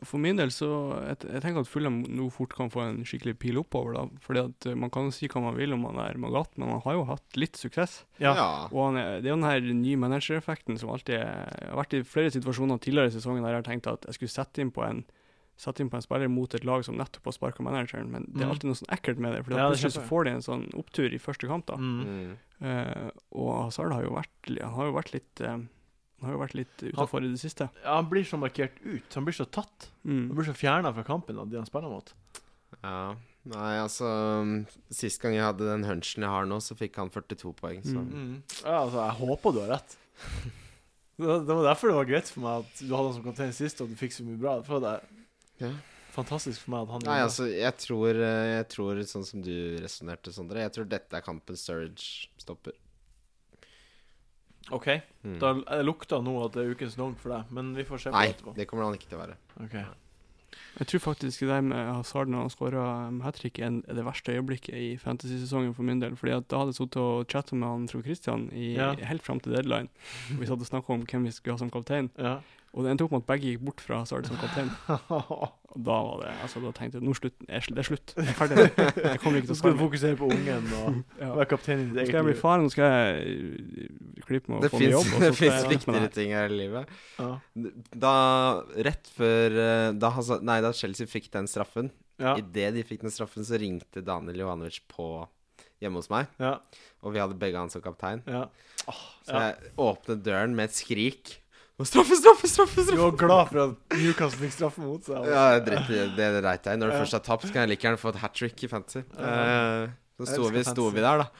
Speaker 2: For min del så jeg, jeg tenker at Fulham nå fort kan få en skikkelig pil oppover, da. Fordi at eh, man kan jo si hva man vil om han er Magat, men han har jo hatt litt suksess.
Speaker 1: Ja.
Speaker 2: Og han er, det er jo den her nye managereffekten som alltid er, har vært i flere situasjoner tidligere i sesongen der jeg har tenkt at jeg skulle sette inn på en Sette inn på en spiller mot et lag som nettopp har sparka manageren, men det er
Speaker 1: Mm.
Speaker 2: alltid noe sånn ekkelt med det. For
Speaker 1: Ja, det
Speaker 2: plutselig så
Speaker 1: skjønner jeg.
Speaker 2: får de en sånn opptur i første kamp, da.
Speaker 1: Mm.
Speaker 3: Mm.
Speaker 2: Eh, og Hazard har jo vært Han har jo vært litt eh, Han har jo vært litt utafor i det siste.
Speaker 1: ja. Han blir så markert ut. Han blir så tatt. Han
Speaker 2: Mm.
Speaker 1: blir så fjerna fra kampen av de han spiller mot.
Speaker 3: Ja. Nei, altså Sist gang jeg hadde den hunchen jeg har nå, så fikk han 42 poeng, så
Speaker 2: Mm.
Speaker 1: Ja, altså, jeg håper du har rett. Det det var derfor det var greit for meg at du hadde han som kaptein sist, og du fikk så mye bra. For det er
Speaker 3: ja.
Speaker 1: fantastisk for meg at han
Speaker 3: Nei, altså, jeg tror, eh, jeg tror sånn som du resonnerte, Sondre Jeg tror dette er kampen Sturridge stopper.
Speaker 1: OK,
Speaker 3: Mm.
Speaker 1: da jeg lukter nå at det er ukens dong for deg, men vi får se på
Speaker 3: Nei,
Speaker 1: det etterpå.
Speaker 3: det kommer han ikke til å være.
Speaker 1: Ok.
Speaker 2: Jeg tror faktisk det der med Hazard når han skåra hat trick, er er det verste øyeblikket i fantasy-sesongen for min del. Fordi at da hadde jeg sittet og chatta med han Trond Christian i,
Speaker 1: Ja.
Speaker 2: helt fram til deadline. Og vi satt og snakka om hvem vi skulle ha som kaptein,
Speaker 1: Ja.
Speaker 2: og det endte opp med at begge gikk bort fra Hazard som kaptein. Og da var det Altså, da tenkte jeg nå slutt, er sl- det er slutt. Jeg er ferdig. Jeg kommer
Speaker 1: Så
Speaker 2: ikke til å
Speaker 1: skal du
Speaker 2: skåre.
Speaker 1: fokusere på ungen og
Speaker 2: Ja.
Speaker 1: være kaptein i ditt
Speaker 2: Nå skal
Speaker 1: eget
Speaker 2: jeg bli
Speaker 1: liv.
Speaker 2: far, nå skal jeg eh, klippe meg
Speaker 3: Det
Speaker 2: og få meg jobb. og så skal
Speaker 3: fins
Speaker 2: jeg-
Speaker 3: viktigere ting her i livet.
Speaker 1: Ja.
Speaker 3: Da Rett før eh, da, Hazard- Nei, da Chelsea fikk den straffen
Speaker 1: Ja.
Speaker 3: Idet de fikk den straffen, så ringte Daniel Johanovic på hjemme hos meg,
Speaker 1: Ja.
Speaker 3: og vi hadde begge han som kaptein.
Speaker 1: ja.
Speaker 3: Så
Speaker 1: Ja.
Speaker 3: jeg åpnet døren med et skrik. Og straffe, straffe, straffe!
Speaker 1: Du
Speaker 3: straffe.
Speaker 1: var glad for at Newcastle fikk straffen mot seg. altså.
Speaker 3: Ja, jeg driter i det. Det dreit jeg i. Når du
Speaker 1: Ja.
Speaker 3: først har tapt, kan jeg like gjerne få et hat trick i fantasy.
Speaker 1: Ja.
Speaker 3: Eh, Så
Speaker 1: Jeg
Speaker 3: sto
Speaker 1: elsker
Speaker 3: vi, sto
Speaker 1: fantasy.
Speaker 3: vi der, da.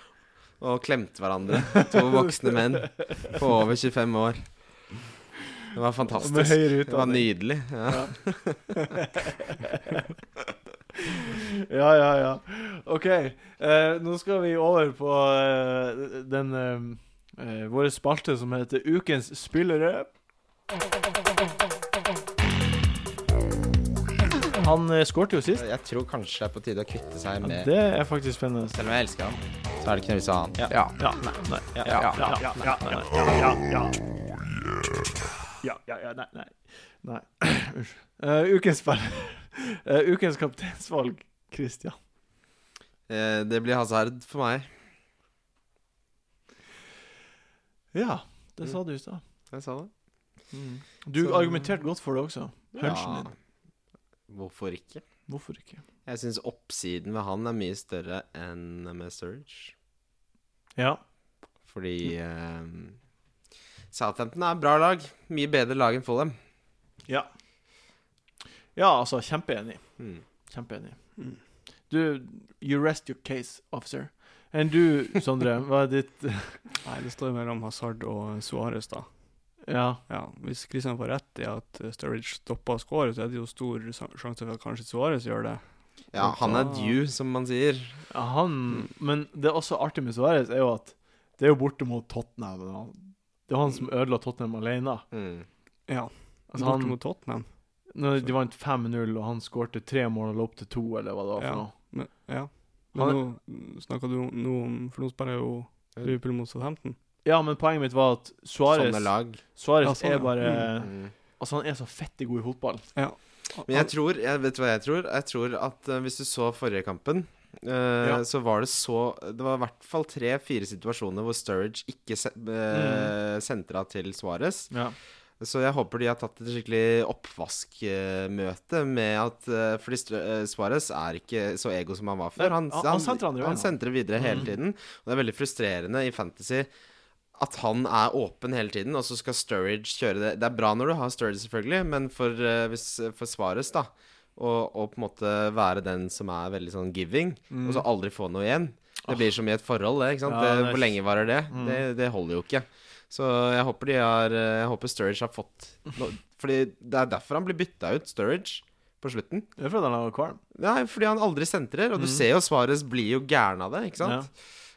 Speaker 3: Og klemte hverandre. To voksne menn på over 25 år. Det var
Speaker 1: Med
Speaker 3: fantastisk.
Speaker 1: høyere
Speaker 3: Det var
Speaker 1: utdanning.
Speaker 3: nydelig. Ja.
Speaker 1: ja, ja, ja. OK. eh, nå skal vi over på eh, den eh, eh, vår spalte som heter Ukens spillere. Han uh, skårte jo sist.
Speaker 3: Jeg tror kanskje det er på tide å kvitte seg
Speaker 1: Ja,
Speaker 3: med
Speaker 1: det er faktisk spennende.
Speaker 3: Selv om jeg elsker han, så er det ikke noe vits i å ha han.
Speaker 1: Ja, nei, nei. Ja, ja, ja, ja, ja, ja, ja, ja. Ja, ja, ja, nei, nei. Nei, unnskyld. Eh, ukens spiller. Eh, ukens kapteinsvalg, Christian.
Speaker 3: Eh, Det blir hasard for meg.
Speaker 1: Ja, det sa du i stad.
Speaker 3: Jeg sa det.
Speaker 1: Mm. Du
Speaker 3: Så-
Speaker 1: argumenterte godt for det også. Punchen din.
Speaker 3: Hvorfor ikke?
Speaker 1: Hvorfor ikke?
Speaker 3: Jeg syns oppsiden ved han er mye større enn med Sturridge.
Speaker 1: Ja.
Speaker 3: Fordi eh, Southampton er et bra lag. Mye bedre lag enn Fulham.
Speaker 1: Ja, ja altså, kjempeenig.
Speaker 3: Mm.
Speaker 1: Kjempeenig.
Speaker 2: Mm.
Speaker 1: Du, you rest your case, officer. Enn du, Sondre, hva er ditt
Speaker 2: Nei, det står mellom Hazard og Suárez, da.
Speaker 1: Ja.
Speaker 2: Ja, hvis Christian får rett i at eh, Sturridge stopper å skåre, så er det jo stor sa- sjanse for at kanskje Suárez gjør det.
Speaker 3: Ja, han er due, som man sier.
Speaker 1: Ja, Han Mm. Men det er også artig med Suárez, er jo at det er jo borte mot Tottenham. og han- Det er jo han som ødela Tottenham alene.
Speaker 3: Mm.
Speaker 2: Ja.
Speaker 1: Altså,
Speaker 2: Borte
Speaker 1: han-
Speaker 2: mot Tottenham.
Speaker 1: Når de vant 5-0, og han skårte tre mål og lå opp til to, eller hva det var for
Speaker 2: Ja.
Speaker 1: noe.
Speaker 2: Men, ja.
Speaker 1: Han-
Speaker 2: Men nå mm, snakker du om- nå om For nå spiller jo Liverpool mot Southampton.
Speaker 1: Ja, men poenget mitt var at Suárez
Speaker 3: Sånne lag.
Speaker 1: Suárez
Speaker 2: Ja, sånn,
Speaker 1: er
Speaker 2: ja.
Speaker 1: bare
Speaker 3: Mm.
Speaker 1: Altså, han er så fettig god i fotball.
Speaker 3: Men jeg tror jeg, Vet du hva jeg tror? Jeg tror at eh, hvis du så forrige kampen eh,
Speaker 1: Ja.
Speaker 3: Så var det så Det var i hvert fall tre-fire situasjoner hvor Sturridge ikke se, eh, sentra til Suárez.
Speaker 1: Ja.
Speaker 3: Så jeg håper de har tatt et skikkelig oppvaskmøte med at eh, Fordi Str- eh, Suarez er ikke så ego som han var før.
Speaker 1: Nei, han- han Mm. sentrer andre veien,
Speaker 3: han
Speaker 1: han.
Speaker 3: sentrer videre hele tiden. Og det er veldig frustrerende i Fantasy at han er åpen hele tiden, og så skal Sturridge kjøre det. Det er bra når du har Sturridge, selvfølgelig, men for, eh, hvis, for Suarez, da og, og på en måte være den som er veldig sånn giving, og så aldri få noe igjen. Det blir som i et forhold, det. ikke sant?
Speaker 1: Mm. Ja,
Speaker 3: det,
Speaker 1: det er
Speaker 3: hvor lenge varer det?
Speaker 1: Mm.
Speaker 3: det? Det holder jo ikke. Så jeg håper de har eh, Jeg håper Sturridge har fått no, Fordi det er derfor han blir bytta ut, Sturridge, på slutten.
Speaker 1: Det er fordi han er kvalm.
Speaker 3: Nei, fordi han aldri sentrer, og du
Speaker 1: Mm.
Speaker 3: ser jo Svares blir jo gæren av det, ikke sant?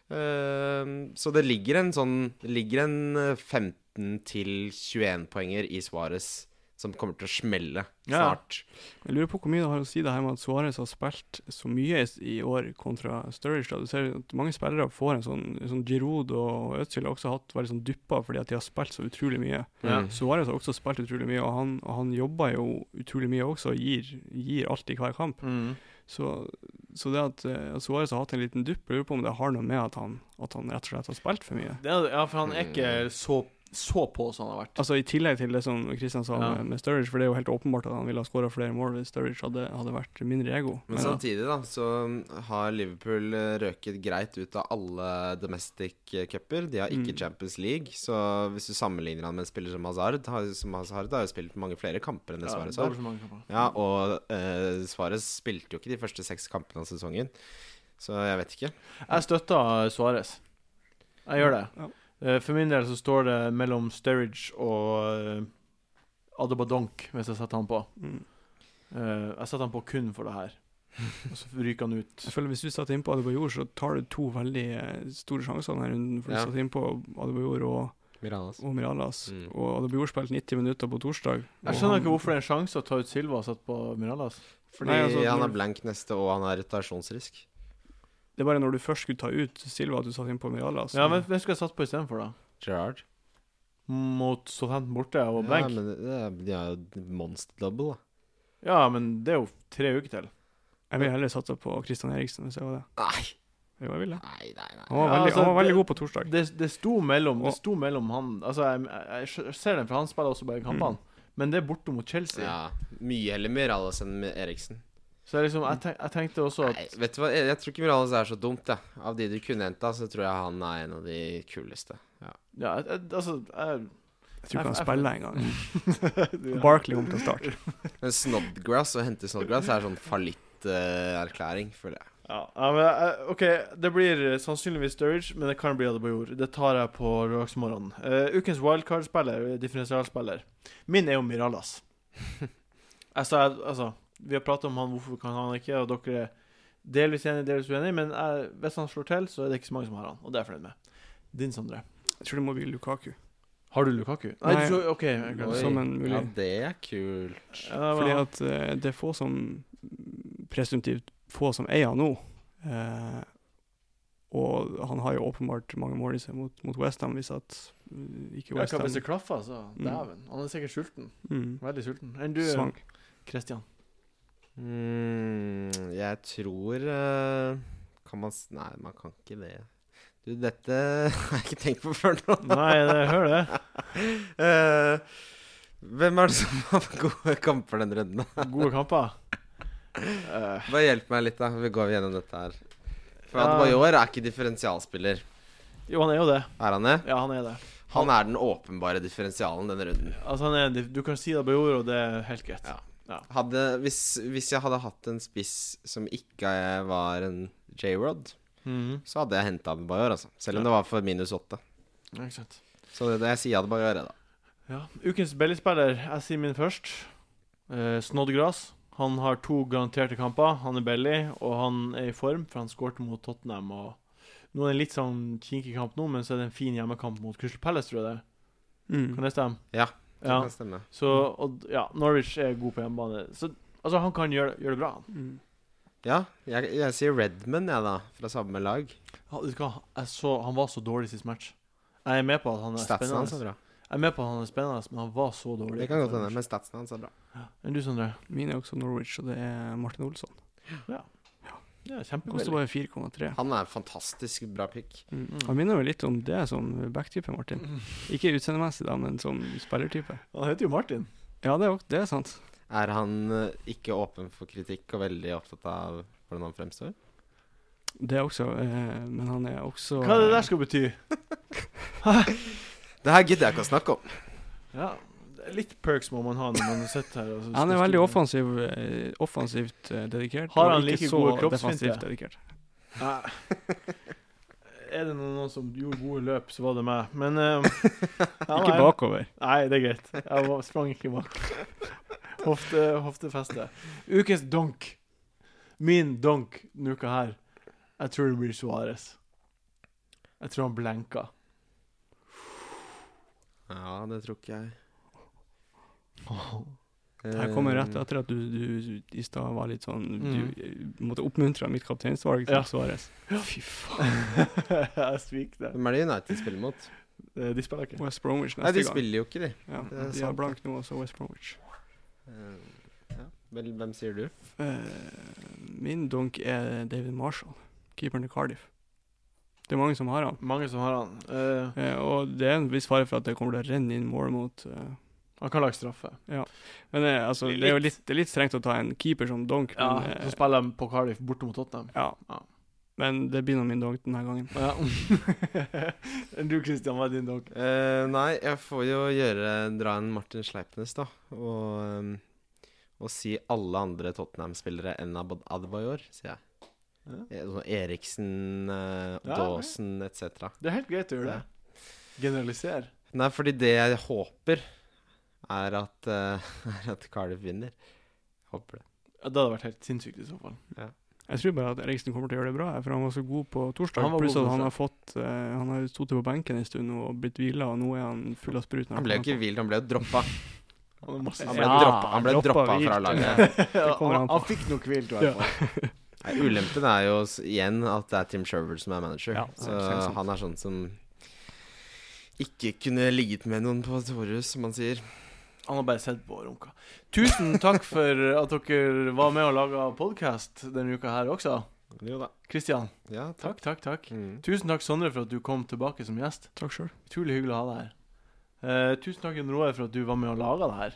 Speaker 3: Ehm, så det ligger en sånn Det ligger en eh, 15 til 21 poenger i Svares som kommer til å smelle
Speaker 1: Ja.
Speaker 3: snart.
Speaker 2: Jeg lurer på hvor mye det har å si det her med at Suarez har spilt så mye i- i år kontra Sturridge. da. Du ser at mange spillere får en sånn, sånn Giroud og Özil har også hatt veldig sånn dupper fordi at de har spilt så utrolig mye.
Speaker 3: Mm.
Speaker 1: Ja.
Speaker 3: Mhm.
Speaker 2: Suarez har også spilt utrolig mye, og han, og han jobber jo utrolig mye også og gir, gir alt i hver kamp.
Speaker 1: Mm.
Speaker 2: Så, så det at, eh, at Suarez har hatt en liten dupp, jeg lurer på om det har noe med at han, at han rett og slett har spilt for mye.
Speaker 1: Det er, ja, for han er ikke
Speaker 3: Mm.
Speaker 1: så, så på som han har vært.
Speaker 2: Altså I tillegg til det som Christian sa
Speaker 1: Ja.
Speaker 2: med, med Sturridge, for det er jo helt åpenbart at han ville ha skåra flere mål hvis Sturridge hadde, hadde vært mindre ego.
Speaker 3: Men
Speaker 2: Men-
Speaker 3: samtidig da, så har Liverpool eh, røket greit ut av alle domestic eh, cuper. De har ikke
Speaker 2: Mm.
Speaker 3: Champions League, så hvis du sammenligner han med en spiller som Hazard har- Som Hazard har jo spilt mange flere kamper enn det Suarez
Speaker 1: Ja,
Speaker 3: har.
Speaker 1: dobbelt så mange kamper.
Speaker 3: Ja, og eh, Suarez spilte jo ikke de første seks kampene av sesongen, så jeg vet ikke.
Speaker 1: Jeg støtter Suárez. Jeg gjør det.
Speaker 2: Ja.
Speaker 1: Eh, For min del så står det mellom Sturridge og Adebadonk, hvis jeg setter han på.
Speaker 2: Mm.
Speaker 1: Eh, Jeg setter han på kun for det her. Og så ryker han ut.
Speaker 2: Jeg føler Hvis du setter innpå Adebayor, så tar du to veldig eh, store sjanser denne runden. For
Speaker 3: Ja.
Speaker 2: Du satte innpå Adebayor og,
Speaker 3: Miralas.
Speaker 2: og Miralas,
Speaker 3: Mm.
Speaker 2: og Adebayor spilte 90 minutter på torsdag.
Speaker 1: Jeg skjønner ikke hvorfor det er en sjanse å ta ut Silva og sette på Miralas.
Speaker 3: Fordi
Speaker 2: Nei, altså,
Speaker 3: han
Speaker 2: når-
Speaker 3: er blank neste, og han har retasjonsrisk.
Speaker 2: Det er bare når du først skulle ta ut Silva, at du satte innpå Miralas.
Speaker 1: Ja, men Hvem skulle jeg satt på istedenfor, da?
Speaker 3: Gerrard.
Speaker 1: Mot Southampton borte og
Speaker 3: Ja,
Speaker 1: Blank?
Speaker 3: men det er, de er jo monster double, da.
Speaker 1: Ja, men det er jo tre uker til.
Speaker 2: Jeg ville heller satsa på Christian Eriksen, hvis jeg var det.
Speaker 3: Nei,
Speaker 2: Jo, jeg ville.
Speaker 3: nei, nei. nei.
Speaker 2: Han var
Speaker 1: Ja,
Speaker 2: veldig,
Speaker 1: altså,
Speaker 2: han var veldig
Speaker 1: det-
Speaker 2: god på torsdag.
Speaker 1: Det, det, sto mellom, det
Speaker 2: Og-
Speaker 1: sto mellom han Altså, jeg, jeg, jeg ser den, for han spiller også bare kampene. Men det er borte mot Chelsea.
Speaker 3: Ja, mye heller Miralas enn Eriksen.
Speaker 1: Så jeg, liksom, jeg, tenk, jeg tenkte også at
Speaker 3: Nei, vet du hva? Jeg, jeg tror ikke Morales er så dumt, jeg. Av de du kunne henta, så tror jeg han er en av de kuleste. Ja.
Speaker 1: Ja, jeg- jeg- altså jeg,
Speaker 2: Jeg tror
Speaker 1: jeg-
Speaker 2: ikke han spiller engang.
Speaker 1: ja.
Speaker 2: Barkley om til start.
Speaker 3: Men Snodgrass, å hente Snodgrass, er sånn fallitterklæring, føler jeg.
Speaker 1: Ja, ja, men jeg- OK, det blir sannsynligvis Sturridge, men det kan bli Adebayor. Det tar jeg på lørdagsmorgenen. Eh, ukens wildcard-spiller, differensialspiller, min er jo Miralas. altså, jeg, altså Vi har pratet om han, hvorfor kan han ikke, og dere er delvis enige, delvis uenige, men jeg, hvis han slår til, så er det ikke så mange som har han, og det er jeg fornøyd med. Din, Sondre.
Speaker 2: Jeg tror det må bli Lukaku.
Speaker 1: Har du Lukaku? Nei,
Speaker 2: Nei.
Speaker 1: du så, OK. jeg glemte.
Speaker 3: Oi.
Speaker 2: Som en mulig
Speaker 3: Ja, det er kult.
Speaker 1: Ja, men
Speaker 2: Fordi
Speaker 1: han-
Speaker 2: at eh, det er få som mm, Presumptivt få som eier han nå. Eh, og han har jo åpenbart mange mål i seg mot, mot Westham, hvis at mm, ikke
Speaker 1: ja, hva
Speaker 2: Westham
Speaker 1: hvis det klaffer, så
Speaker 2: Mm.
Speaker 1: Dæven. Han er sikkert sulten.
Speaker 2: mm,
Speaker 1: Veldig sulten. Enn du, eh,
Speaker 2: svang.
Speaker 1: Kristian?
Speaker 3: Mm, jeg tror eh, Kan man s... Nei, man kan ikke det. Du, dette har jeg ikke tenkt på før nå.
Speaker 1: Nei, det, hør det.
Speaker 3: Eh, hvem er det som har gode kamper denne runden? da?
Speaker 1: Gode kamper. Eh,
Speaker 3: Bare hjelp meg litt, da. Vi går gjennom dette her. For
Speaker 1: Ja.
Speaker 3: Adebayor er ikke differensialspiller.
Speaker 1: jo, han er jo det.
Speaker 3: Er han det?
Speaker 1: Ja, han er det.
Speaker 3: Han er den åpenbare differensialen denne runden.
Speaker 1: Altså, han er, du kan si det på jorda, og det er helt greit.
Speaker 3: Ja. Hadde, hvis, hvis jeg hadde hatt en spiss som ikke var en J-Rod,
Speaker 1: Mhm.
Speaker 3: så hadde jeg henta Adebayor, altså. Selv om det var for minus åtte.
Speaker 1: Ja, Ikke sant.
Speaker 3: Så det, det jeg sier Adebayor, jeg, da.
Speaker 1: Ja. Ukens Belly-spiller, jeg sier min først. Eh, Snodgrass. Han har to garanterte kamper. Han er Belly, og han er i form, for han skårte mot Tottenham. Og nå er det en litt sånn kinkig kamp nå, men så er det en fin hjemmekamp mot Crystal Palace, tror jeg det. er. Kan
Speaker 2: Mm.
Speaker 1: det stemme?
Speaker 3: Ja, det
Speaker 1: Ja.
Speaker 3: kan stemme.
Speaker 1: Så, og, ja, Norwich er god på hjemmebane. Så altså, han kan gjøre, gjøre det bra. han.
Speaker 2: Mm.
Speaker 3: Ja, jeg, jeg sier Redman, jeg, da. Fra samme lag.
Speaker 1: Han, vet du hva? Jeg så, han var så dårlig sist match. Jeg er med på at han er
Speaker 3: Statsen hans
Speaker 1: spennende,
Speaker 3: er altså. bra.
Speaker 1: Jeg er med på at han er spennende men han var så dårlig.
Speaker 3: Det kan godt hende, men statsen hans er bra.
Speaker 1: Enn du, Sondre?
Speaker 2: Min er også Norwich, og det er Martin Olsson.
Speaker 1: Ja,
Speaker 2: Koster
Speaker 1: Kjempebillig.
Speaker 2: bare 4,3.
Speaker 3: Han er en fantastisk bra pick.
Speaker 2: Mm. Han minner jo litt om det som backtype, Martin.
Speaker 1: Mm.
Speaker 2: Ikke utseendemessig, da, men som spillertype.
Speaker 1: Han heter jo Martin.
Speaker 2: Ja, det er, jo- det er sant.
Speaker 3: Er han eh, ikke åpen for kritikk og veldig opptatt av hvordan han fremstår?
Speaker 2: Det er også, eh, men han er også
Speaker 1: Hva er det der skal bety?
Speaker 3: Det her gidder jeg ikke å snakke om.
Speaker 1: Ja, det er litt perks må man ha når man sitter her. og så
Speaker 2: Han er
Speaker 1: skal
Speaker 2: veldig
Speaker 1: styre.
Speaker 2: offensiv, eh, offensivt eh, dedikert.
Speaker 1: Har
Speaker 2: og
Speaker 1: han
Speaker 2: ikke
Speaker 1: like
Speaker 2: så
Speaker 1: gode kroppsfinter?
Speaker 2: defensivt dedikert.
Speaker 1: Nei. Er det noen som gjorde gode løp, så var det meg. Men eh, ja,
Speaker 2: Ikke
Speaker 1: nei.
Speaker 2: bakover.
Speaker 1: Nei, det er greit. Jeg var, sprang ikke bak. Hofte, hoftefeste. Ukens donk. Min donk denne uka her. Jeg tror det blir Suárez. Jeg tror han blenka.
Speaker 3: Ja, det tror ikke jeg.
Speaker 2: Det Her kommer
Speaker 3: Eh.
Speaker 2: rett etter at du, du i stad var litt sånn Du eh, måtte oppmuntre mitt kapteinsvalg
Speaker 1: Mm.
Speaker 2: til
Speaker 1: Ja.
Speaker 2: Suárez. Fy faen.
Speaker 1: jeg sviker det.
Speaker 3: Hvem er det United spiller mot?
Speaker 1: Eh, De spiller ikke.
Speaker 2: West Bromwich
Speaker 3: Nei,
Speaker 2: neste
Speaker 3: de
Speaker 2: gang.
Speaker 3: spiller jo ikke, de.
Speaker 2: Ja,
Speaker 3: Det er
Speaker 2: de har
Speaker 3: sant,
Speaker 2: blank nå, også West Bromwich.
Speaker 3: Eh, Ja. Vel, hvem sier du?
Speaker 2: Eh, min donk er David Marshall, keeperen til Cardiff. Det er mange som har han.
Speaker 1: Mange som har han. Eh,
Speaker 2: Eh, og det er en viss fare for at det kommer til å renne inn mål mot eh,
Speaker 1: han kan lage straffe.
Speaker 2: Men eh, altså,
Speaker 1: Litt.
Speaker 2: det er jo litt, det er litt strengt å ta en keeper som donk,
Speaker 1: Ja,
Speaker 2: men, eh,
Speaker 1: så spiller de på Cardiff borte mot Tottenham. Ja.
Speaker 2: ja. men det blir nå min donk denne gangen.
Speaker 1: Ja. Enn du, Christian, hva er din dog?
Speaker 3: Eh, nei, jeg får jo gjøre dra en Martin Sleipnes, da. Og, ehm, og si alle andre Tottenham-spillere enn Ab- Adebayor, sier jeg. Eh, sånn Eriksen, eh,
Speaker 1: Ja,
Speaker 3: Dawson etc.
Speaker 1: Det er helt greit å gjøre det. Generalisere.
Speaker 3: Nei, fordi det jeg håper, er at, eh, er at Cardiff vinner. Håper det.
Speaker 1: Ja, Det hadde vært helt sinnssykt i så fall.
Speaker 2: Jeg tror bare at Eriksen kommer til å gjøre det bra, eh, for han var så god på torsdag.
Speaker 1: Han var
Speaker 2: Pluss
Speaker 1: god
Speaker 2: at
Speaker 1: på
Speaker 2: han har fått eh, Han har sittet på benken en stund nå og blitt hvila, og nå er han full av sprut. når
Speaker 3: Han ble jo
Speaker 2: kommer
Speaker 3: ikke hvilt, han ble jo droppa.
Speaker 1: Han, er masse-
Speaker 2: på.
Speaker 3: Han ble
Speaker 2: Ja,
Speaker 3: droppa, han ble
Speaker 2: droppa
Speaker 3: droppa fra
Speaker 2: hvilt.
Speaker 3: laget.
Speaker 1: Ja,
Speaker 2: kommer
Speaker 1: han,
Speaker 2: han på.
Speaker 1: han fikk nok hvilt, i hvert fall.
Speaker 3: Nei, ulempen er jo s- igjen at det er Tim Sherwood som er manager.
Speaker 2: Ja, det er helt
Speaker 3: så
Speaker 2: sant.
Speaker 3: han er sånn som ikke kunne ligget med noen på Torus, som han sier.
Speaker 1: Han har bare sett på og runka. Tusen takk for at dere var med og laga podkast denne uka her også.
Speaker 3: Jo da.
Speaker 1: Christian,
Speaker 3: Ja, takk.
Speaker 1: takk, takk, takk.
Speaker 3: Mm.
Speaker 1: Tusen takk, Sondre, for at du kom tilbake som gjest.
Speaker 2: Takk sjøl.
Speaker 1: Utrolig hyggelig å ha deg her. Eh, tusen takk, Jon Roar, for at du var med og laga det her.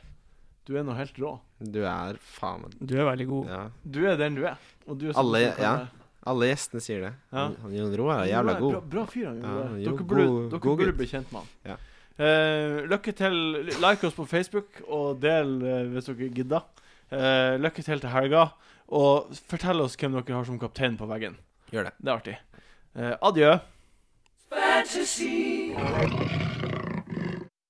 Speaker 1: Du er nå helt rå.
Speaker 3: Du er faen meg
Speaker 2: Du er veldig god.
Speaker 3: ja.
Speaker 1: Du er den du er. Og du er sånn
Speaker 3: Alle-
Speaker 1: som kan
Speaker 3: ja.
Speaker 1: være-
Speaker 3: Alle gjestene sier det.
Speaker 1: Ja.
Speaker 3: Han- han Jon Roar er
Speaker 1: Ja,
Speaker 3: jævla
Speaker 1: bra-
Speaker 3: god.
Speaker 1: Bra, bra fyr han
Speaker 3: Ja,
Speaker 1: gjorde.
Speaker 3: han
Speaker 1: det.
Speaker 3: gjorde
Speaker 1: dere burde,
Speaker 3: god-
Speaker 1: dere
Speaker 3: god
Speaker 1: burde
Speaker 3: gutt.
Speaker 1: bli kjent med han.
Speaker 3: Ja.
Speaker 1: Eh, lykke til. Like oss på Facebook, og del eh, hvis dere gidder. Eh, lykke til til helga, og fortell oss hvem dere har som kaptein på veggen.
Speaker 3: Gjør det.
Speaker 1: Det er artig. Eh, adjø.
Speaker 4: fantasy.